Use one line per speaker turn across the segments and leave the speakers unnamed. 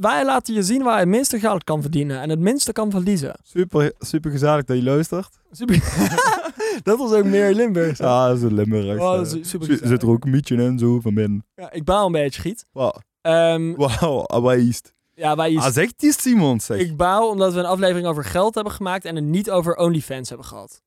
wij laten je zien waar je het meeste geld kan verdienen en het minste kan verliezen.
Super, super gezellig dat je luistert.
Super- dat was ook meer Limburg.
Ja, dat is een Limburg.
Oh,
eh.
dat is super
Zit-
gezellig.
Zit er ook een mietje in zo van binnen.
Ja, ik baal een beetje, Giet.
Wauw, ah,
Ehm,
wow, abijst.
ja, wij
Ah, zegt die Simon, zeg.
Ik baal omdat we een aflevering over geld hebben gemaakt en het niet over OnlyFans hebben gehad.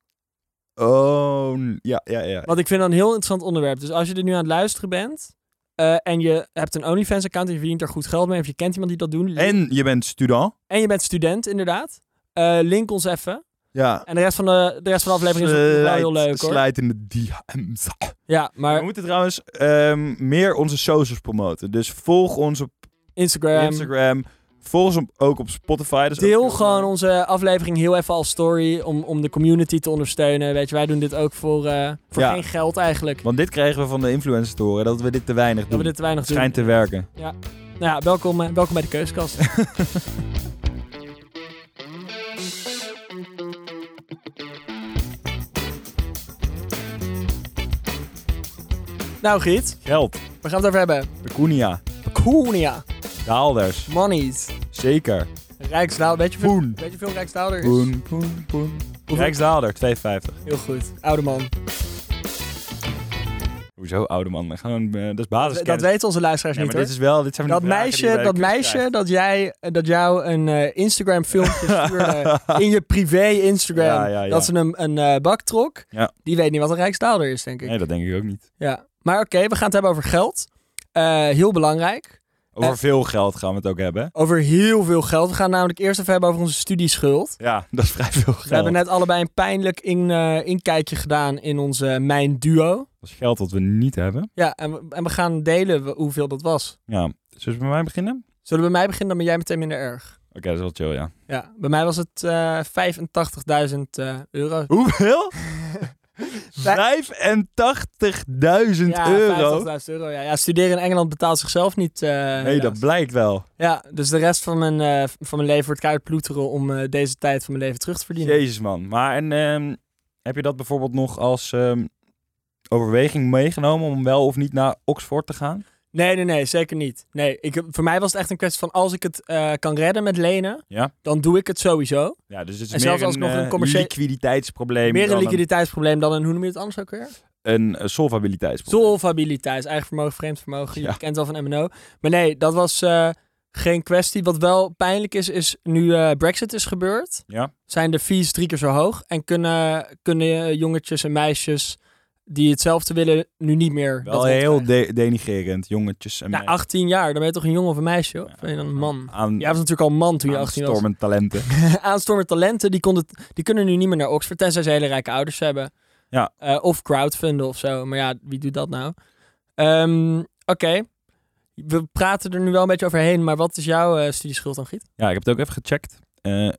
Oh, n- ja, ja, ja.
Want ik vind dat een heel interessant onderwerp. Dus als je er nu aan het luisteren bent eh, en je hebt een OnlyFans-account en je verdient er goed geld mee of je kent iemand die dat doet.
En je bent student.
en je bent student, inderdaad. eh, link ons even.
Ja.
En de rest van de, de, rest van de aflevering is nog wel heel
Slijt-
leuk hoor. Eh,
Slijt in de DM's.
Ja,
We
maar
moeten trouwens ehm, meer onze socials promoten. Dus volg ons op
Instagram.
Instagram. Volg ons op- ook op Spotify. Dus
Ehm, Deel
ook-
gewoon onze aflevering heel even als story om, om de community te ondersteunen. Weet je, wij doen dit ook voor, eh, voor
Ja.
geen geld eigenlijk.
Want dit kregen we van de influencers te horen, dat we dit te weinig
Dat
doen.
we dit te weinig
Het
doen.
schijnt te werken.
Nou ja, welkom, eh, welkom bij de Keuzekast. nou Giet,
Geld.
waar gaan we het over hebben?
Pecunia.
Pecunia,
Daalders.
monies,
Zeker.
Rijksdaal, weet je veel,
Poen.
weet je veel Rijksdaalder is?
Poen, poen, poen.
Hoeveel-
Rijksdaalder, 2,50.
Heel goed, oude man.
Hoezo, oude man? We gaan, eh, dat is basis.
dat weten onze luisteraars
Nee,
niet
maar
hoor.
dit is wel... Dit zijn van
Dat
die vragen die
meisje,
je bij de
dat,
kunst
meisje dat, jij, dat jou een eh, Instagram filmpje stuurde in je privé Instagram,
Ja, ja, ja.
dat ze hem een eh, bak trok,
Ja.
die weet niet wat een Rijksdaalder is, denk ik.
krijgt. Nee, dat denk ik ook niet.
Ja. Maar oké, we gaan het hebben over geld. Eh, heel belangrijk.
Over
Eh.
veel geld gaan we het ook hebben.
Over heel veel geld. We gaan namelijk eerst even hebben over onze studieschuld.
Ja, dat is vrij veel geld.
We hebben net allebei een pijnlijk in, eh, inkijkje gedaan in onze Mijn Duo.
Dat is geld dat we niet hebben.
Ja, en we, en we gaan delen we- hoeveel dat was.
Ja, zullen we bij mij beginnen?
Zullen we bij mij beginnen, dan ben jij meteen minder erg.
Oké, dat is wel chill, ja.
Ja, bij mij was het eh 85.000 eh, euro.
Hoeveel? 85.000
Ja,
euro?
50.000 euro. Ja. ja, studeren in Engeland betaalt zichzelf niet. eh,
Nee, dat
helaas.
blijkt wel.
Ja, dus de rest van mijn, eh, van mijn leven wordt keihard ploeteren om eh, deze tijd van mijn leven terug te verdienen.
Jezus, man. Maar en, ehm, heb je dat bijvoorbeeld nog als ehm, overweging meegenomen om wel of niet naar Oxford te gaan?
Nee, nee, nee, zeker niet. Nee, ik, heb- voor mij was het echt een kwestie van als ik het eh, kan redden met lenen,
Ja.
dan doe ik het sowieso.
Ja, dus het is
En
meer
zelfs als
een,
ik nog een
eh,
commerciële-
liquiditeitsprobleem
Meer een
dan
liquiditeitsprobleem dan een, hoe noem je het anders ook weer?
een, eh, solvabiliteitsprobleem.
Solvabiliteit, eigen vermogen, vreemd vermogen.
Ja.
Je kent al van MNO. Maar nee, dat was eh, geen kwestie. Wat wel pijnlijk is, is nu eh, Brexit is gebeurd,
Ja.
zijn de fees drie keer zo hoog. En kunnen, kunnen jongetjes en meisjes die hetzelfde willen, nu niet meer. dat
Wel
recht
heel
krijgen.
de- denigrerend, jongetjes en
Nou,
meiden.
18 jaar, dan ben je toch een jongen of een meisje? Of ben je dan een man?
Aan,
Jij was natuurlijk al een man toen je
aan
18 was.
stormend talenten.
aanstormend talenten, die, konden, die kunnen nu niet meer naar Oxford, tenzij ze hele rijke ouders hebben.
Ja.
Eh, of crowdfunden of zo. Maar ja, wie doet dat nou? Ehm, Oké. We praten er nu wel een beetje overheen, maar wat is jouw eh, studieschuld dan, Giet?
Ja, ik heb het ook even gecheckt. Eh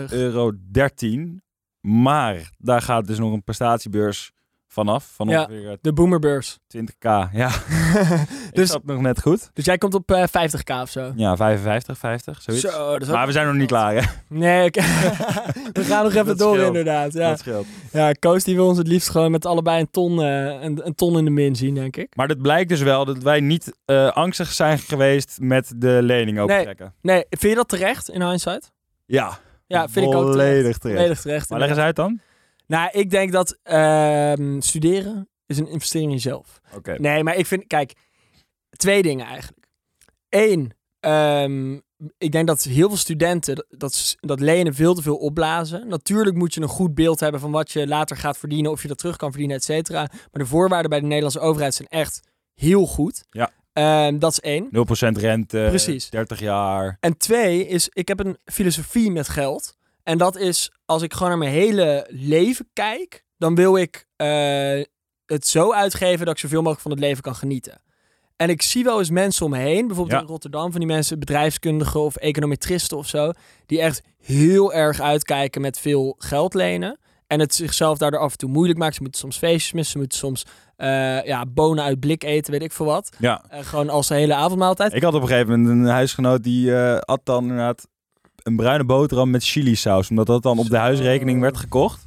74.374 euro 13. Maar daar gaat dus nog een prestatiebeurs vanaf. Van
Ja.
ongeveer eh,
De boomerbeurs.
20k. Ja, dus...
Dus-
is dat nog net goed?
Dus jij komt op eh, 50k of zo.
Ja, 55, 50, zoiets.
Zo, dat is ook-
Maar we zijn nog niet klaar, hè?
Nee, oké. we gaan nog even
Dat
door
scheelt.
inderdaad. Ja.
Dat scheelt.
ja, Koos die wil ons het liefst gewoon met allebei een ton, eh, een, een ton in de min zien, denk ik.
Maar dat blijkt dus wel dat wij niet eh, angstig zijn geweest met de lening opentrekken.
Nee, vind je dat terecht in hindsight?
Ja,
Ja, vind ik ook terecht.
volledig terecht.
Volledig terecht.
Maar leg eens uit dan.
Nou, ik denk dat ehm, studeren is een investering in jezelf.
Oké.
Nee, maar ik vind, kijk, twee dingen eigenlijk. Eén, ehm, ik denk dat heel veel studenten dat- dat, s- dat lenen veel te veel opblazen. Natuurlijk moet je een goed beeld hebben van wat je later gaat verdienen, of je dat terug kan verdienen, et cetera. Maar de voorwaarden bij de Nederlandse overheid zijn echt heel goed.
Ja.
Ehm, dat is één.
0% rente,
Precies.
30 jaar.
En twee is, ik heb een filosofie met geld. En dat is, als ik gewoon naar mijn hele leven kijk, dan wil ik eh, het zo uitgeven dat ik zoveel mogelijk van het leven kan genieten. En ik zie wel eens mensen om me heen, bijvoorbeeld
Ja.
in Rotterdam, van die mensen, bedrijfskundigen of econometristen of zo, die echt heel erg uitkijken met veel geld lenen. En het zichzelf daardoor af en toe moeilijk maakt. Ze moeten soms feestjes missen, ze moeten soms eh, ja, bonen uit blik eten, weet ik veel wat.
Ja,
Eh, gewoon als de hele avondmaaltijd.
Ik had op een gegeven moment een huisgenoot die eh at dan inderdaad een bruine boterham met chilisaus. Omdat dat dan op de
Zo.
huisrekening werd gekocht.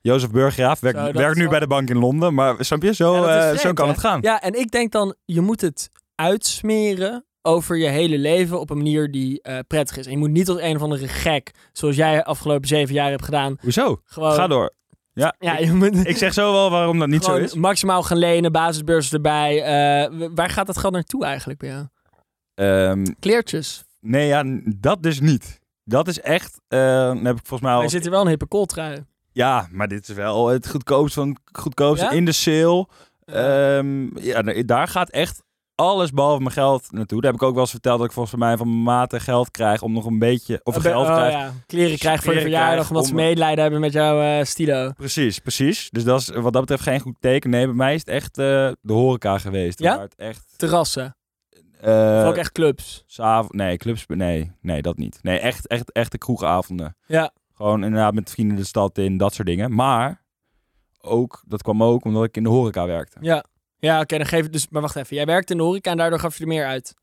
Jozef Burgraaf werkt,
Zo, dat
werkt
is
nu
wel-
bij de bank in Londen. Maar snap je, zo,
Ja, dat is
eh,
vreemd,
zo kan
hè?
het gaan.
Ja, en ik denk dan, je moet het uitsmeren over je hele leven op een manier die eh, prettig is. En je moet niet als een of andere gek, zoals jij afgelopen zeven jaar hebt gedaan,
Hoezo?
gewoon...
Ga door. Ja,
Oh. Ja,
ik,
je moet
ik zeg zo wel waarom dat niet zo
gewoon
is.
maximaal gaan lenen, basisbeurs erbij. Eh, w- waar gaat dat geld naartoe eigenlijk bij jou?
Ehm,
Kleertjes.
nee, ja, n- dat dus niet. Dat is echt, ehm, dat heb ik volgens mij al...
Maar je zit er wel een hippe kooltrui.
Ja, maar dit is wel het goedkoopst van het goedkoopste
Ja?
in de sale.
Ja.
Ehm, ja, daar- daar gaat echt alles behalve mijn geld naartoe. Daar heb ik ook wel eens verteld dat ik volgens mij van mijn maten geld krijg om nog een beetje... Of
Oh,
geld
oh,
krijg.
ja. Kleren krijg voor je
Kleren
verjaardag
krijg
omdat ze
om-
medelijden hebben met jouw eh, stilo.
Precies, precies. Dus dat is eh, wat dat betreft geen goed teken. Nee, bij mij is het echt eh, de horeca geweest.
Ja?
Waar het echt...
Terrassen.
eh,
Of ook echt clubs.
S'avond, nee, clubs, nee, nee, dat niet. Nee, echt, echt, echt de kroegavonden.
Ja.
Gewoon inderdaad met vrienden de stad in, dat soort dingen. Maar ook, dat kwam ook omdat ik in de horeca werkte.
Ja, ja oké, dan geef ik dus. Maar wacht even, jij werkt in de horeca en daardoor gaf je er meer uit.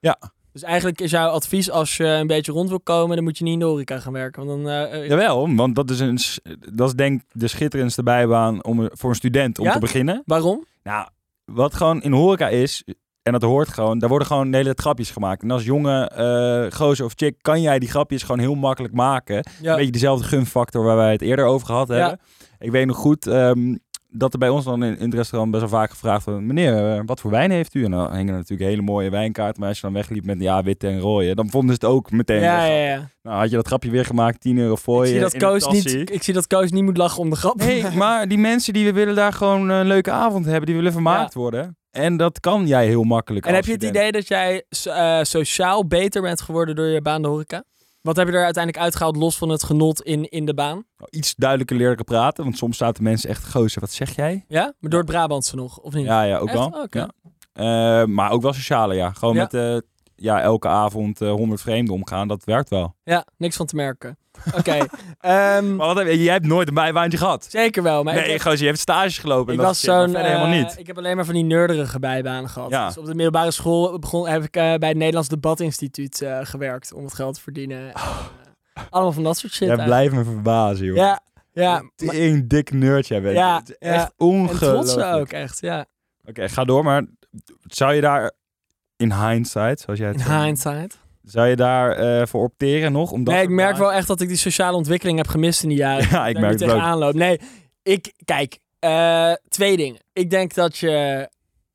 Ja.
Dus eigenlijk is jouw advies als je een beetje rond wil komen, dan moet je niet in de horeca gaan werken. Want dan, eh, eh,
Jawel, want dat is, een, s- dat is denk ik de schitterendste bijbaan om, een- voor een student om
Ja?
te beginnen.
Waarom?
Nou, wat gewoon in de horeca is, en dat hoort gewoon, daar worden gewoon de hele tijd grapjes gemaakt. En als jonge eh gozer of chick kan jij die grapjes gewoon heel makkelijk maken.
Ja.
Een beetje dezelfde gunfactor waar wij het eerder over gehad
Ja.
hebben. Ik weet nog goed ehm, dat er bij ons dan in, in het restaurant best wel vaak gevraagd werd... meneer, eh, wat voor wijn heeft u? En dan hingen er natuurlijk hele mooie wijnkaarten. Maar als je dan wegliep met ja, witte en rode... dan vonden ze het ook meteen.
ja,
weg.
ja, ja.
Nou, had je dat grapje weer gemaakt, 10 euro voor
Ik
je
zie, dat
in een
Koos
tassie.
niet, ik zie dat Koos niet moet lachen om de grap.
eh, Nee, maar die mensen die willen daar gewoon een leuke avond hebben. Die willen vermaakt worden. En dat kan jij heel makkelijk
en heb
als
je het
student.
idee dat jij so- eh, sociaal beter bent geworden door je baan in de horeca? Wat heb je er uiteindelijk uitgehaald los van het genot in, in de baan?
Nou, Iets duidelijker leren praten. Want soms zaten mensen echt, gozer, wat zeg jij?
Ja? Maar door het Brabantse nog, of niet?
Ja, ja, ook
Echt?
wel.
Oké.
Ja. Eh, maar ook wel sociale, ja. Gewoon
Ja.
met eh, ja, elke avond eh, honderd vreemden omgaan. Dat werkt wel.
Ja, niks van te merken. Oké. ehm,
Maar wat heb, jij hebt nooit een bijbaantje gehad.
zeker wel. Maar ik
nee,
heb-
gozer, je hebt stages gelopen.
Ik
en dat
was
soort shit,
zo'n.
maar verder helemaal
eh,
niet.
ik heb alleen maar van die nerderige bijbanen gehad.
Ja.
Dus op de middelbare school begon, heb ik eh, bij het Nederlands Debatinstituut eh, gewerkt om het geld te verdienen. En, eh, allemaal van dat soort shit.
Oh. Jij
eigenlijk.
blijft me verbazen, joh.
Ja, ja. maar-
Een dik nerd jij bent.
Ja,
Het is
ja.
echt
En
ongelooflijk.
trots ook echt, ja.
Oké, ga door, maar zou je daar in hindsight, zoals jij het
In
zegt,
hindsight.
zou je daar eh, voor opteren nog? Omdat
Nee, ik merk wel echt dat ik die sociale ontwikkeling heb gemist in die jaren.
Ja,
Daar
ik
nu
merk het ook.
tegenaan loop. Nee, ik, kijk, eh, twee dingen. Ik denk dat je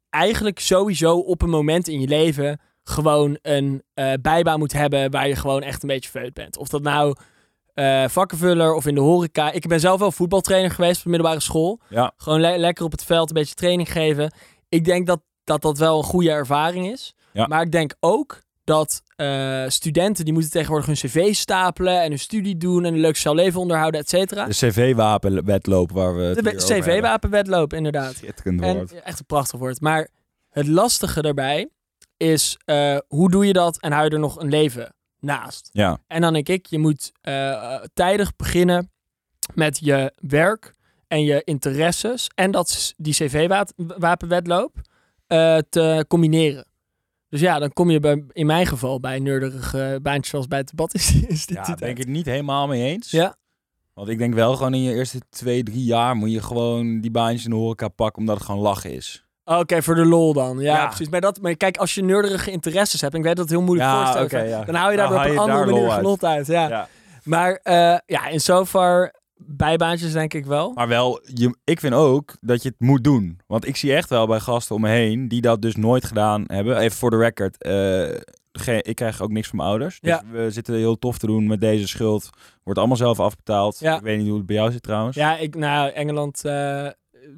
eigenlijk sowieso op een moment in je leven gewoon een eh, bijbaan moet hebben waar je gewoon echt een beetje feut bent. Of dat nou eh, vakkenvuller of in de horeca. Ik ben zelf wel voetbaltrainer geweest op de middelbare school.
Ja.
Gewoon le- lekker op het veld een beetje training geven. Ik denk dat dat, dat wel een goede ervaring is.
Ja.
Maar ik denk ook dat eh, studenten die moeten tegenwoordig hun cv stapelen en hun studie doen en een leuk sociaal leven onderhouden, et cetera.
De cv-wapenwetloop waar we het
ah. De
hier
we-
over hebben.
CV-wapenwetloop, inderdaad.
Schitterend
En,
woord.
ja, echt een prachtig woord. Maar het lastige daarbij is, eh, hoe doe je dat en hou je er nog een leven naast?
Ja,
En dan denk ik, je moet eh, tijdig beginnen met je werk en je interesses en dat, s- die CV-wapenwetloop eh, te combineren. Dus ja, dan kom je bij, in mijn geval bij een nerderige baantjes zoals bij het debatinstituut.
ja denk ik niet helemaal mee eens.
Ja.
Want ik denk wel gewoon in je eerste twee, drie jaar moet je gewoon die baantjes in de horeca pakken omdat het gewoon lachen is.
Oh, Oké, voor de lol dan. Ja,
Ja.
precies. Maar, dat, maar kijk, als je nerdige interesses hebt, en ik weet dat het heel moeilijk voor te stellen,
ja.
dan hou je daar
Dan
weer op een
haal je
andere
daar lol
manier
uit.
genot uit. Ja.
Ja.
Maar eh, ja, in zover bijbaantjes denk ik wel.
Maar wel, je, ik vind ook dat je het moet doen. Want ik zie echt wel bij gasten om me heen die dat dus nooit gedaan hebben. Even voor de record, eh, ge- ik krijg ook niks van mijn ouders. Dus
Ja.
we zitten heel tof te doen met deze schuld. Wordt allemaal zelf afbetaald.
Ja.
Ik weet niet hoe het bij jou zit trouwens.
Ja, ik, nou, Engeland eh,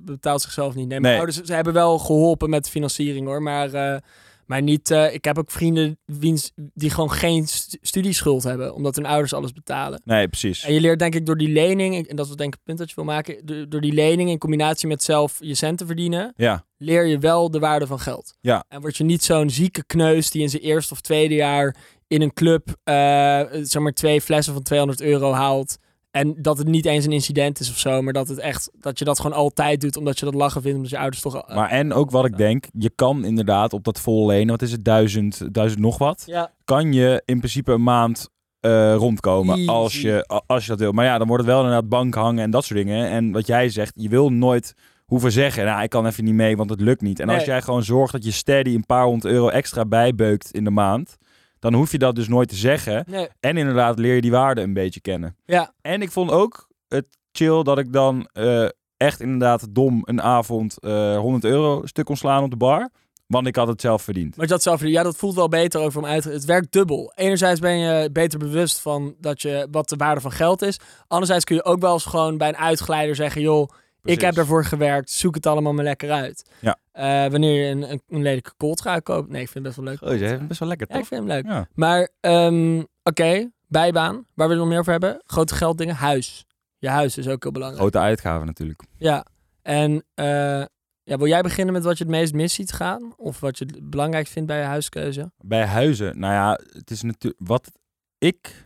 betaalt zichzelf niet. Nee, mijn
Nee.
ouders ze hebben wel geholpen met financiering hoor, maar, eh, maar niet. eh, ik heb ook vrienden wiens, die gewoon geen stu- studieschuld hebben, omdat hun ouders alles betalen.
Nee, precies.
En je leert denk ik door die lening, en dat is denk ik het punt dat je wil maken, do- door die lening in combinatie met zelf je centen verdienen,
Ja,
leer je wel de waarde van geld.
Ja.
En word je niet zo'n zieke kneus die in zijn eerste of tweede jaar in een club eh, zeg maar twee flessen van 200 euro haalt. En dat het niet eens een incident is of zo, maar dat het echt dat je dat gewoon altijd doet omdat je dat lachen vindt omdat je ouders toch. al-
maar en ook wat ik denk, je kan inderdaad op dat vol lenen, wat is het, duizend, duizend nog wat,
ja.
kan je in principe een maand eh, rondkomen
Easy.
als je, a- als je dat wil. Maar ja, dan wordt het wel inderdaad bank hangen en dat soort dingen. En wat jij zegt, je wil nooit hoeven zeggen, nou, ik kan even niet mee, want het lukt niet. En als
Nee.
jij gewoon zorgt dat je steady een paar honderd euro extra bijbeukt in de maand, dan hoef je dat dus nooit te zeggen.
Nee.
En inderdaad leer je die waarde een beetje kennen.
Ja.
En ik vond ook het chill dat ik dan eh, echt inderdaad dom een avond eh 100 euro stuk kon slaan op de bar, want ik had het zelf verdiend.
Maar dat zelf, ja, dat voelt wel beter over om uit. Het werkt dubbel. Enerzijds ben je beter bewust van dat je, wat de waarde van geld is. Anderzijds kun je ook wel eens gewoon bij een uitgeleider zeggen: joh, ik heb
Precies.
daarvoor gewerkt, zoek het allemaal maar lekker uit.
Ja.
Eh, wanneer je een, een, een lelijke kooltrui koopt. Nee, ik vind het best wel leuk.
Oh, je hebt best wel lekker,
Ja, ik
toch?
vind hem leuk.
Ja.
Maar, ehm, oké, bijbaan. Waar wil je nog meer over hebben? Grote gelddingen. Huis. Je huis is ook heel belangrijk.
Grote uitgaven natuurlijk.
Ja. En eh, ja, wil jij beginnen met wat je het meest mis ziet gaan? Of wat je het belangrijk vindt bij je huiskeuze?
Bij huizen, nou ja, het is natuurlijk wat ik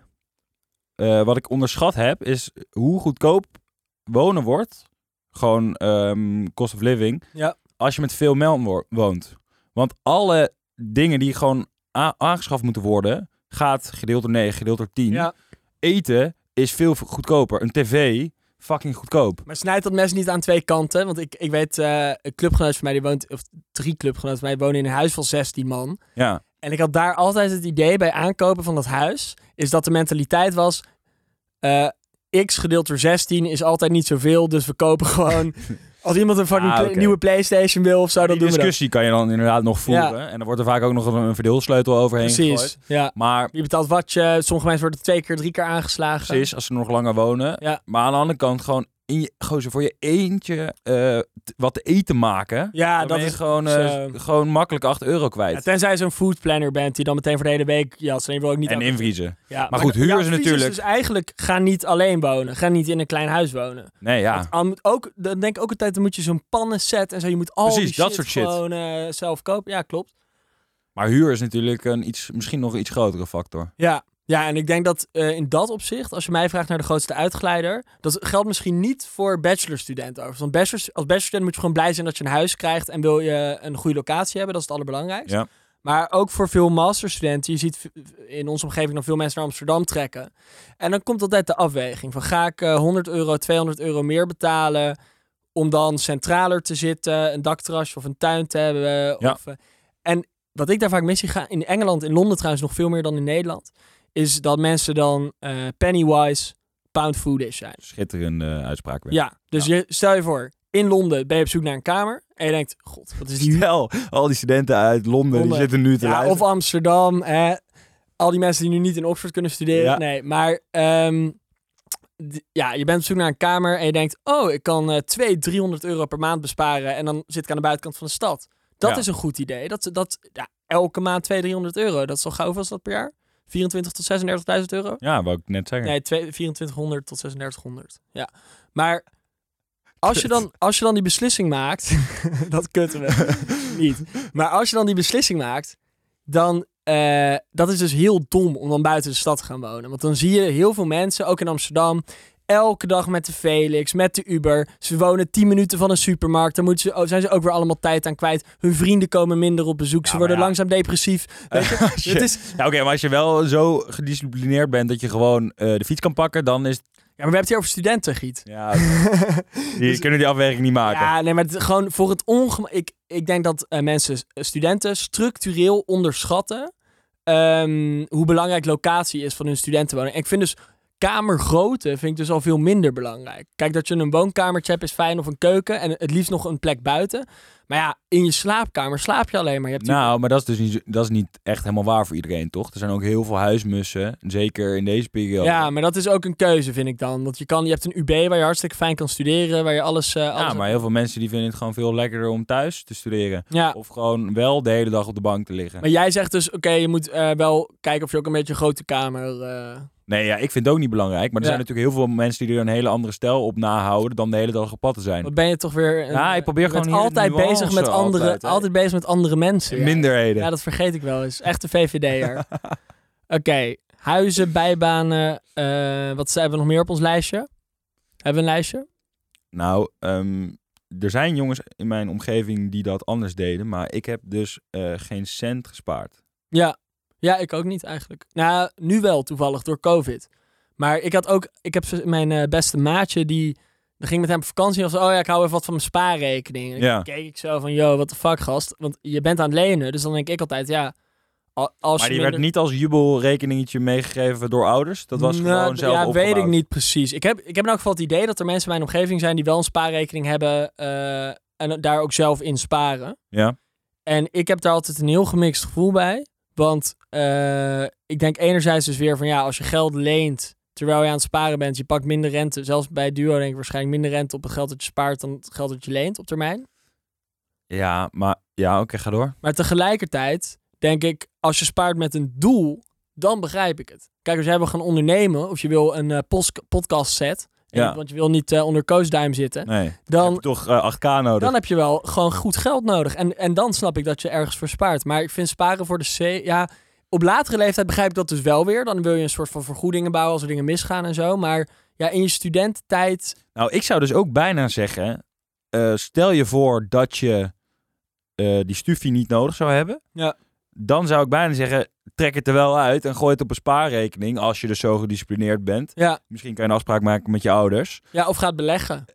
eh, wat ik onderschat heb is hoe goedkoop wonen wordt, gewoon ehm, cost of living.
Ja.
Als je met veel melk wo- woont, want alle dingen die gewoon a- aangeschaft moeten worden, gaat gedeeld door 9, gedeeld door 10. Eten is veel goedkoper. Een tv fucking goedkoop.
Maar snijd dat mes niet aan twee kanten. Want ik, ik weet, eh, een clubgenoot van mij die woont, of drie clubgenoten van mij wonen in een huis van 16 man.
Ja.
En ik had daar altijd het idee bij aankopen van dat huis, is dat de mentaliteit was, eh, x gedeeld door 16 is altijd niet zoveel, dus we kopen gewoon... Als iemand een fucking
Ah,
pla-
oké.
nieuwe Playstation wil of zo, dan
Die
doen we dat.
discussie kan je dan inderdaad nog voeren. En dan wordt er vaak ook nog een- een verdeelsleutel overheen
Precies,
gegooid.
ja.
Maar
Je betaalt wat je, sommige mensen worden twee keer, drie keer aangeslagen.
Precies, als ze nog langer wonen.
Ja.
Maar aan de andere kant gewoon in je, gozer, voor je eentje eh, t- wat te eten maken.
Ja,
dan
dat
ben je
is...
gewoon, eh,
zo.
gewoon makkelijk 8 euro
ja,
kwijt.
tenzij je zo'n foodplanner bent die dan meteen voor de hele week jas en je wil ook niet
en
aan-
invriezen.
Ja,
Maar goed, huur
jouw
is
advies
natuurlijk-
dus eigenlijk, ga niet alleen wonen. Ga niet in een klein huis wonen.
Nee, ja.
Want al moet ook, dan denk ik ook altijd, dan moet je zo'n pannenset en zo. Je moet al
Precies,
die
dat
shit
soort shit.
gewoon eh, zelf kopen. Ja, klopt.
Maar huur is natuurlijk een iets, misschien nog een iets grotere factor.
Ja, ja en ik denk dat eh, in dat opzicht, als je mij vraagt naar de grootste uitgeleider, dat geldt misschien niet voor bachelorstudenten overigens. Want bachelors, als bachelorstudent moet je gewoon blij zijn dat je een huis krijgt en wil je een goede locatie hebben. Dat is het allerbelangrijkste.
Ja.
Maar ook voor veel masterstudenten, je ziet v- in onze omgeving dan veel mensen naar Amsterdam trekken. En dan komt altijd de afweging van ga ik eh, 100 euro, 200 euro meer betalen om dan centraler te zitten, een dakterrasje of een tuin te hebben.
Ja.
Of, eh, en wat ik daar vaak mis zie gaan, in Engeland, in Londen trouwens nog veel meer dan in Nederland, is dat mensen dan eh, pennywise, pound foolish zijn.
Schitterende eh, uitspraak. weer.
Ja, dus Je, stel je voor, in Londen ben je op zoek naar een kamer en je denkt, god, wat is dus die
Stel, al die studenten uit Londen, die
Londen.
zitten nu te
Ja,
luisteren.
of Amsterdam. Hè. Al die mensen die nu niet in Oxford kunnen studeren.
Ja.
Nee, maar ehm, d- ja, je bent op zoek naar een kamer en je denkt... oh, ik kan eh 200, 300 euro per maand besparen... en dan zit ik aan de buitenkant van de stad. Dat
Ja.
is een goed idee. Dat, dat, ja, elke maand 200, 300 euro. Dat is al gauw, hoeveel is dat per jaar? 24 tot 36.000 euro?
Ja, wou ik net zeggen.
Nee, twee- 2400 tot 3600. Ja. Maar als je, dan, als je dan die beslissing maakt. dat kutten we niet. Maar als je dan die beslissing maakt. Dan. eh, dat is dus heel dom om dan buiten de stad te gaan wonen. Want dan zie je heel veel mensen, ook in Amsterdam. Elke dag met de Felix, met de Uber. Ze wonen 10 minuten van een supermarkt. Dan moeten ze, oh, zijn ze ook weer allemaal tijd aan kwijt. Hun vrienden komen minder op bezoek. Ze
maar
worden
ja.
langzaam depressief. Weet je?
Als je-
Het is,
Ja, Oké, maar als je wel zo gedisciplineerd bent dat je gewoon eh, de fiets kan pakken, dan is...
ja, maar we hebben het hier over studenten, Giet.
Ja, die
Dus-
kunnen die afweging niet maken.
Ja, nee, maar het, is gewoon voor het ongemak. Ik, ik denk dat eh, mensen, s- studenten, structureel onderschatten ehm, hoe belangrijk locatie is van hun studentenwoning. En ik vind dus kamergrootte vind ik dus al veel minder belangrijk. Kijk, dat je een woonkamertje hebt is fijn of een keuken en het liefst nog een plek buiten. Maar ja, in je slaapkamer slaap je alleen maar. Je hebt die-
Nou, maar dat is dus niet, zo- dat is niet echt helemaal waar voor iedereen, toch? Er zijn ook heel veel huismussen, zeker in deze periode.
ja, maar dat is ook een keuze, vind ik dan. Want je, kan, je hebt een UB waar je hartstikke fijn kan studeren, waar je alles... eh,
Ja,
alles
maar heel veel mensen die vinden het gewoon veel lekkerder om thuis te studeren.
ja.
Of gewoon wel de hele dag op de bank te liggen.
Maar jij zegt dus, oké, je moet eh, wel kijken of je ook een beetje een grote kamer... eh,
Nee, ja, ik vind het ook niet belangrijk. Maar
Ja.
er zijn natuurlijk heel veel mensen die er een hele andere stijl op nahouden dan de hele dag op pad te zijn.
Wat ben je toch weer... een-
Ja, ik probeer
je
gewoon
bent
hier
altijd
de nuance
bezig met andere, altijd,
altijd, hè?
bezig met andere mensen. ja.
Minderheden.
Ja, dat vergeet ik wel eens. Echte VVD'er. Oké, huizen, bijbanen. eh, wat hebben we nog meer op ons lijstje? Hebben we een lijstje?
Nou, ehm, er zijn jongens in mijn omgeving die dat anders deden. Maar ik heb dus eh, geen cent gespaard.
Ja. Ja, ik ook niet eigenlijk. Nou, nu wel toevallig door COVID. Maar ik had ook, ik heb z- mijn eh, beste maatje die Dan ging ik met hem op vakantie en was oh ja, ik hou even wat van mijn spaarrekening. En
Ja.
dan keek ik zo van, yo, what the fuck, gast. Want je bent aan het lenen, dus dan denk ik altijd, ja... al- Als je
Maar die
minder-
werd niet als jubelrekeningetje meegegeven door ouders. Dat was
Nou,
gewoon
d-
zelf
Ja,
opgebouwd.
weet ik niet precies. Ik heb, ik heb in elk geval het idee dat er mensen in mijn omgeving zijn die wel een spaarrekening hebben eh, en daar ook zelf in sparen.
Ja.
En ik heb daar altijd een heel gemixt gevoel bij. Want eh, ik denk enerzijds dus weer van ja, als je geld leent terwijl je aan het sparen bent, je pakt minder rente. Zelfs bij Duo denk ik waarschijnlijk minder rente op het geld dat je spaart dan het geld dat je leent op termijn.
Ja, maar ja, oké, ga door.
Maar tegelijkertijd denk ik, als je spaart met een doel, dan begrijp ik het. Kijk, als jij wil gaan ondernemen of je wil een eh, pos- podcast set, en
Ja.
je- want je wil niet eh, onder koosduim zitten,
Nee. Dan heb je
dan,
toch eh, 8k nodig.
dan heb je wel gewoon goed geld nodig. En, en dan snap ik dat je ergens voor spaart. Maar ik vind sparen voor de C, ja, op latere leeftijd begrijp ik dat dus wel weer. Dan wil je een soort van vergoedingen bouwen als er dingen misgaan en zo. Maar ja, in je studententijd,
Nou, ik zou dus ook bijna zeggen, eh, stel je voor dat je eh, die stufie niet nodig zou hebben.
Ja.
Dan zou ik bijna zeggen, trek het er wel uit en gooi het op een spaarrekening als je dus zo gedisciplineerd bent.
ja,
Misschien kan je een afspraak maken met je ouders.
ja of gaat beleggen.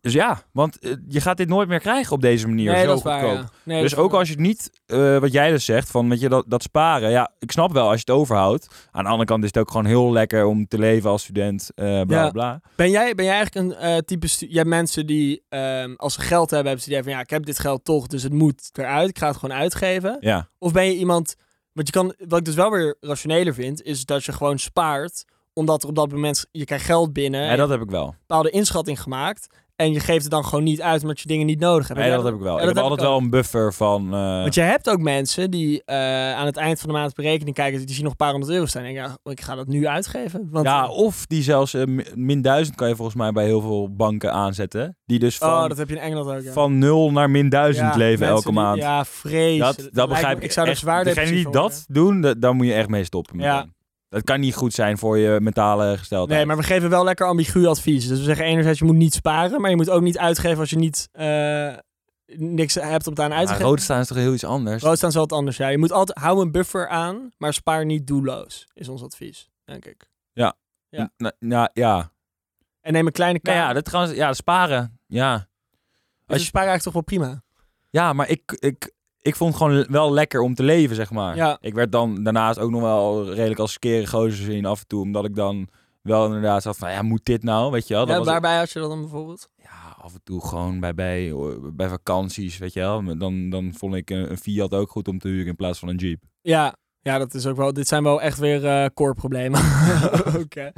Dus ja, want eh, je gaat dit nooit meer krijgen op deze manier.
nee,
zo
dat is
goedkoop.
waar. ja. Nee, dat
Dus
is
ook
waar.
als je het niet, eh, wat jij dus zegt, van weet je, dat, dat sparen. Ja, ik snap wel als je het overhoudt. Aan de andere kant is het ook gewoon heel lekker om te leven als student. eh bla
Ja.
bla, bla.
Ben jij, ben jij eigenlijk een eh, type... stu- Je hebt mensen die ehm, als ze geld hebben, hebben ze die van... Ja, ik heb dit geld toch, dus het moet eruit. Ik ga het gewoon uitgeven.
Ja,
Of ben je iemand... Wat, je kan, wat ik dus wel weer rationeler vind, is dat je gewoon spaart. Omdat er op dat moment... Je krijgt geld binnen.
ja.
en je hebt
dat heb ik wel.
een bepaalde inschatting gemaakt. En je geeft het dan gewoon niet uit, omdat je dingen niet nodig hebt.
Nee,
Heb
dat
jij
heb ik wel.
Ja,
Ik
dat
heb
heb
altijd
ik
wel een buffer van. eh,
Want je hebt ook mensen die eh, aan het eind van de maand op een rekening kijken... Die zien nog een paar honderd euro staan. En denken, ja, ik ga dat nu uitgeven. Want,
ja, of die zelfs eh, mi- min 1000 kan je volgens mij bij heel veel banken aanzetten. Die dus van,
oh, dat heb je in Engeland ook, ja.
van 0 naar min 1000
Ja,
leven
mensen
elke
die-
maand.
Ja, vrees.
dat, dat, begrijp ik.
Ik zou dus er
echt.
zwaar
Degene
depressief
die
van
dat doen, da- daar moet je echt mee stoppen.
Ja.
meteen. Dat kan niet goed zijn voor je mentale
worden.
gesteldheid.
Nee, maar we geven wel lekker ambigu advies. Dus we zeggen enerzijds je moet niet sparen, maar je moet ook niet uitgeven als je niet eh, niks hebt om het aan uit te
Maar
geven.
rood staan is toch heel iets anders?
Rood staan is wel wat anders. Ja, je moet altijd hou een buffer aan, maar spaar niet doelloos. Is ons advies, denk ik. Ja.
N- n- Nou ja.
En neem een kleine
Nou
kaart.
ja, dat trouwens, ja, sparen. Ja.
als
als
je
je-
spaar eigenlijk toch wel prima.
Ja, maar ik, ik, ik vond het gewoon wel lekker om te leven, zeg maar.
Ja.
Ik werd dan daarnaast ook nog wel redelijk als skere gozer gezien af en toe. Omdat ik dan wel inderdaad zat van, ja, moet dit nou? Weet je wel? Dat
Ja,
was-
waarbij had je dat dan bijvoorbeeld?
ja, af en toe gewoon bij, bij, bij vakanties, weet je wel. Dan, dan vond ik een, een Fiat ook goed om te huren in plaats van een Jeep.
Ja. Ja, dat is ook wel. Dit zijn wel echt weer eh core problemen. Oké.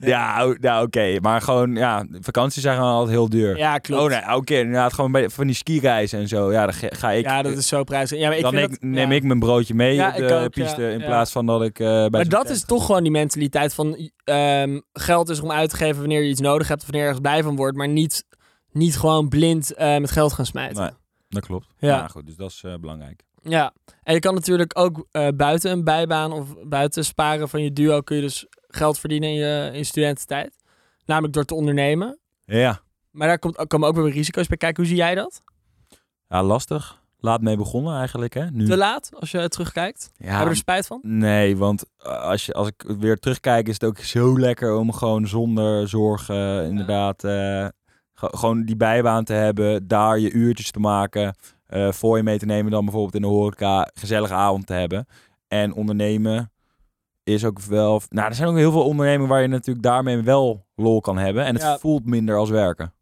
Ja, o- ja oké. Maar gewoon, ja, vakanties zijn gewoon altijd heel duur.
Ja, klopt.
Oh nee, oké, inderdaad, gewoon bij, van die skireizen en zo. Ja, dan ge- ga ik...
ja, dat is zo prijzig. Ja, maar ik
dan
vind
ik-
dat-
neem
ja.
ik mijn broodje mee
Ja,
op
ik
de
ook,
piste
ja.
in
Ja.
plaats van dat ik eh, bij
Maar
zo'n
dat
tent-
is toch gewoon die mentaliteit van ehm, geld is om uit te geven wanneer je iets nodig hebt of wanneer je ergens blij van wordt, maar niet, niet gewoon blind eh, met geld gaan smijten.
Nee. Dat klopt.
Ja.
Ja. goed, dus dat is eh, belangrijk.
Ja, en je kan natuurlijk ook eh, buiten een bijbaan of buiten sparen van je duo kun je dus geld verdienen in je, in je studententijd. Namelijk door te ondernemen.
Ja.
Maar daar komt, komen ook weer risico's bij kijken. Hoe zie jij dat?
ja, lastig. Laat mee begonnen eigenlijk, hè? Nu.
Te laat, als je terugkijkt? Hebben
Mm. Ja,
we er spijt van?
nee, want eh, als, je, als ik weer terugkijk is het ook zo lekker om gewoon zonder zorgen inderdaad eh, ge- gewoon die bijbaan te hebben. Daar je uurtjes te maken. eh, voor je mee te nemen dan bijvoorbeeld in de horeca. Gezellige avond te hebben. En ondernemen is ook wel... Nou, er zijn ook heel veel ondernemingen waar je natuurlijk daarmee wel lol kan hebben. En het
Ja.
voelt minder als werken.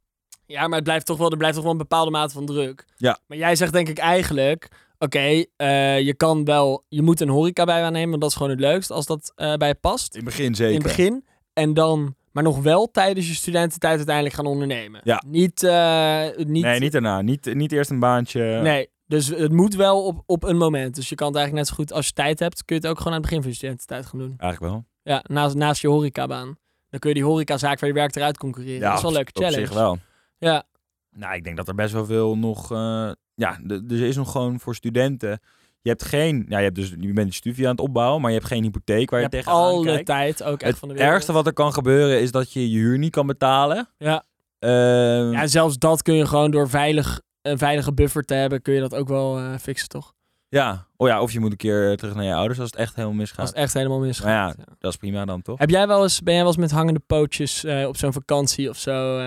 Ja, maar het blijft toch wel, er blijft toch wel een bepaalde mate van druk.
Ja.
Maar jij zegt denk ik eigenlijk, oké, eh, je kan wel, je moet een horeca bij aannemen, want dat is gewoon het leukst als dat eh, bij je past.
In het begin
In
zeker.
het begin. En dan, maar nog wel tijdens je studententijd uiteindelijk gaan ondernemen.
Ja.
Niet, eh, niet,
Nee, niet eh. daarna. Niet, niet eerst een baantje.
Nee, dus het moet wel op, op een moment. Dus je kan het eigenlijk net zo goed, als je tijd hebt, kun je het ook gewoon aan het begin van je studententijd gaan doen.
Eigenlijk wel.
Ja, naast, naast je horecabaan. Dan kun je die horecazaak waar je werkt eruit concurreren. dat is wel een leuke
op-
challenge.
Op zich wel.
Ja.
Nou, ik denk dat er best wel veel nog... eh, ja, d- er is nog gewoon voor studenten... Je hebt geen... Ja, je, hebt dus, je bent je studie aan het opbouwen, maar je hebt geen hypotheek waar
Je
je,
hebt
tegenaan
alle
kijkt.
tijd ook echt
Het
van de wereld.
ergste wat er kan gebeuren is dat je je huur niet kan betalen.
Ja.
Ehm,
Ja,
ja,
en zelfs dat kun je gewoon door veilig, een veilige buffer te hebben, kun je dat ook wel eh, fixen, toch?
Ja. Oh ja, of je moet een keer eh, terug naar je ouders als het echt helemaal misgaat.
Als het echt helemaal misgaat.
Nou Dat is prima dan, toch?
Heb jij wel eens, ben jij wel eens met hangende pootjes eh, op zo'n vakantie of zo eh,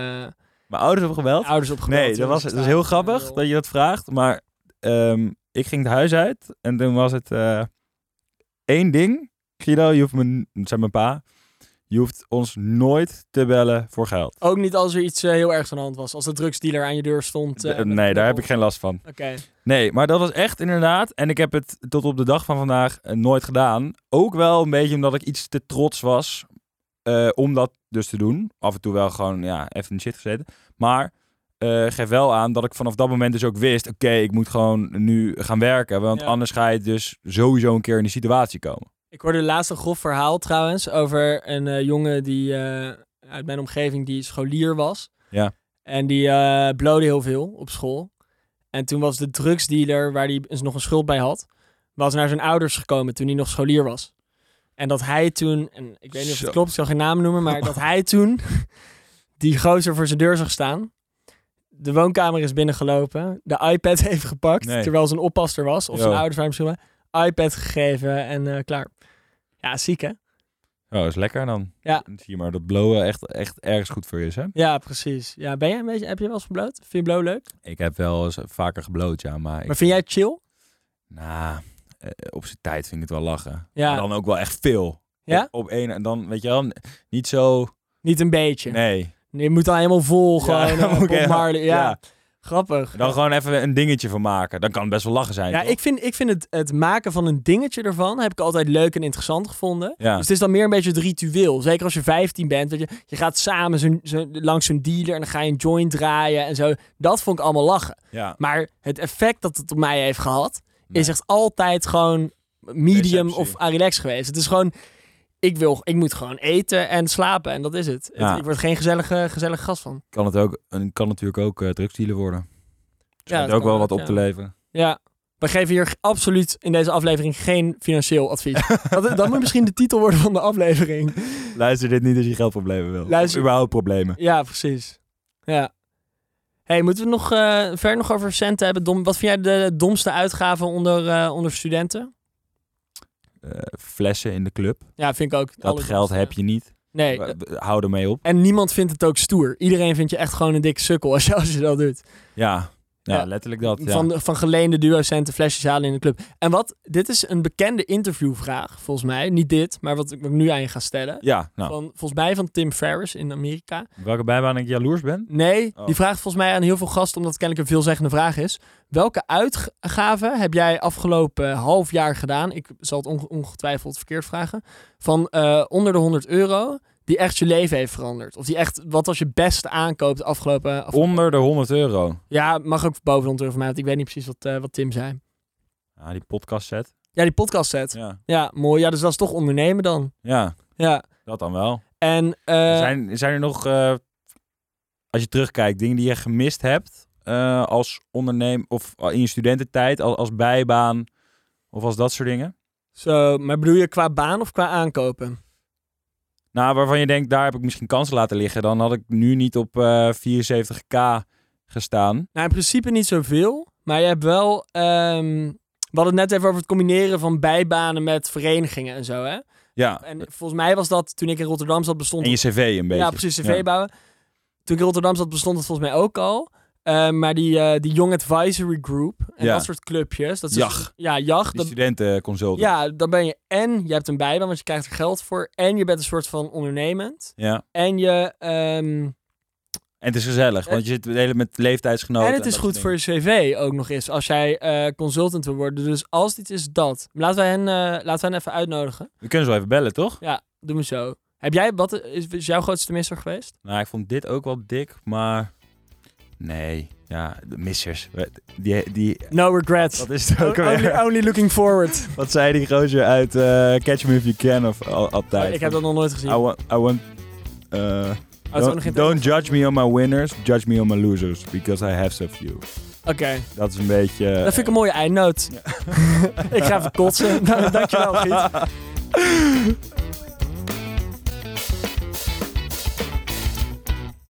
Mijn ouders hebben gebeld.
ouders opgebeld?
Nee, dat, was, dat is heel grappig dat je dat vraagt. Maar ehm, ik ging het huis uit en toen was het eh, één ding. Guido, je hoeft me, zei mijn pa, je hoeft ons nooit te bellen voor geld.
Ook niet als er iets eh, heel ergs aan de hand was. Als de drugsdealer aan je deur stond. eh,
Eh,
met
nee,
een
daar heb
knuppel.
ik geen last van.
Oké.
Nee, maar dat was echt inderdaad. En ik heb het tot op de dag van vandaag eh, nooit gedaan. Ook wel een beetje omdat ik iets te trots was eh, om dat dus te doen. Af en toe wel gewoon ja, even in de shit gezeten. Maar eh geef wel aan dat ik vanaf dat moment dus ook wist... oké, ik moet gewoon nu gaan werken. Want
Ja.
anders ga je dus sowieso een keer in die situatie komen.
Ik hoorde laatst een grof verhaal trouwens over een eh, jongen die eh, uit mijn omgeving die scholier was.
Ja.
En die eh blode heel veel op school. En toen was de drugsdealer waar hij eens nog een schuld bij had, was naar zijn ouders gekomen toen hij nog scholier was. En dat hij toen, en ik weet niet of
Zo.
het klopt, ik zal geen naam noemen, maar dat hij toen die gozer voor zijn deur zag staan. De woonkamer is binnengelopen, de iPad heeft gepakt,
Nee.
terwijl zijn oppaster was, of zijn
Yo.
ouders waren misschien wel iPad gegeven en eh, klaar. Ja, ziek hè?
Oh, dat is lekker dan.
Ja.
Dan Zie je maar dat blowen echt, echt ergens goed voor je is, hè?
Ja, precies. Ja, ben jij een beetje, heb je wel eens gebloot? Vind je blow leuk?
Ik heb wel eens vaker gebloot, ja. Maar, ik-
Maar vind jij het chill?
Nou, eh, op zijn tijd vind ik het wel lachen.
Ja.
Maar dan ook wel echt veel.
Ja?
Op, op één en dan, weet je wel, n- niet zo...
Niet een beetje.
Nee.
Je moet dan helemaal vol gewoon.
dan
eh,
moet ik
Bob
helemaal-
Marley. Ja, grappig.
Dan gewoon even een dingetje van maken. Dan kan het best wel lachen zijn.
ja,
toch?
ik vind, ik vind het, het maken van een dingetje ervan heb ik altijd leuk en interessant gevonden.
Ja.
Dus het is dan meer een beetje het ritueel. Zeker als je 15 bent. Weet je, je gaat samen zo'n zo'n- langs zo'n dealer en dan ga je een joint draaien en zo. Dat vond ik allemaal lachen.
ja.
Maar het effect dat het op mij heeft gehad,
Nee.
is echt altijd gewoon medium
Deceptie.
of Arilex geweest. Het is gewoon, ik, wil, ik moet gewoon eten en slapen en dat is het. Het-
Ja.
ik word geen gezellige, gezellige gast van.
Kan, het ook, en kan natuurlijk ook eh drugsdealer worden. Het
dat
schijnt ook
kan
wel wat
ook,
op
ja.
te leveren.
Ja, we geven hier absoluut in deze aflevering geen financieel advies. dat, dat moet misschien de titel worden van de aflevering.
Luister dit niet als je geldproblemen wil.
Luister-
Of überhaupt problemen.
Ja, precies. Ja. hey, moeten we nog eh ver nog over centen hebben? Dom, wat vind jij de domste uitgaven onder, eh, onder studenten?
Eh, flessen in de club.
Ja, vind ik ook.
Dat geld heb je niet.
Nee,
Eh, Hou ermee op.
En niemand vindt het ook stoer. Iedereen vindt je echt gewoon een dikke sukkel als je, als je dat doet.
Ja. Ja,
Ja.
letterlijk dat. Ja.
Van, van geleende duocenten flesjes halen in de club. En wat, dit is een bekende interviewvraag, volgens mij. Niet dit, maar wat ik wat ik nu aan je ga stellen.
ja, nou.
Van, volgens mij van Tim Ferriss in Amerika.
Welke bijbaan ik jaloers ben?
Nee,
Oh.
die vraag volgens mij aan heel veel gasten, omdat het kennelijk een veelzeggende vraag is. Welke uitgaven heb jij afgelopen eh, half jaar gedaan? Ik zal het onge- ongetwijfeld verkeerd vragen. Van eh, onder de 100 euro, die echt je leven heeft veranderd. Of die echt, wat was je beste aankoop de afgelopen... af-
Onder de 100 euro.
Ja, mag ook boven de 100 euro van mij, want ik weet niet precies wat, eh, wat Tim zei.
Ja, die podcast set.
Ja, die podcast set. Ja.
Ja,
mooi. Ja, dus dat is toch ondernemen dan.
ja
Ja.
dat dan wel.
En eh,
zijn, zijn er nog, eh, als je terugkijkt, dingen die je gemist hebt eh, als ondernemer of eh, in je studententijd, als, als bijbaan of als dat soort dingen?
zo, maar bedoel je qua baan of qua aankopen?
Nou, waarvan je denkt, daar heb ik misschien kansen laten liggen. Dan had ik nu niet op eh, 74k gestaan.
Nou, in principe niet zoveel. Maar je hebt wel. ehm, we hadden het net even over het combineren van bijbanen met verenigingen en zo. Hè?
Ja,
En volgens mij was dat toen ik in Rotterdam zat bestond.
en je cv een beetje.
ja, precies. CV
Ja.
bouwen. Toen ik in Rotterdam zat bestond het volgens mij ook al. Eh, maar die, eh, die Young Advisory Group en
Ja.
dat soort clubjes. Dat is dus-
Jag.
ja, jag.
Die
Dat,
studentenconsultant.
ja, dan ben je en je hebt een bijbaan, want je krijgt er geld voor. En je bent een soort van ondernemend.
Ja.
En je. ehm,
En het is gezellig, want je zit de hele met leeftijdsgenoten.
en het is
dat
goed
soort
voor je cv ook nog eens als jij eh, consultant wil worden. Dus als dit is dat, laten wij hen, eh, laten wij hen even uitnodigen.
dingen. We kunnen zo even bellen, toch?
Ja, doen we zo. Heb jij, wat is, is jouw grootste misser geweest?
Nou, ik vond dit ook wel dik, maar. Nee, ja, de missers. Die, die...
No regrets.
Wat is het ook
Only,
alweer?
only looking forward.
Wat zei die gozer uit eh, Catch Me If You Can of al- altijd?
Oh, ik heb dat nog nooit gezien.
I want... I want eh,
Oh, het is ook nog geen
don't, don't judge me on my winners, judge me on my losers, because I have so few.
Oké,
Dat is een beetje... eh,
dat vind ik een mooie eindnoot. ik ga even kotsen. Nou, dankjewel, Giet.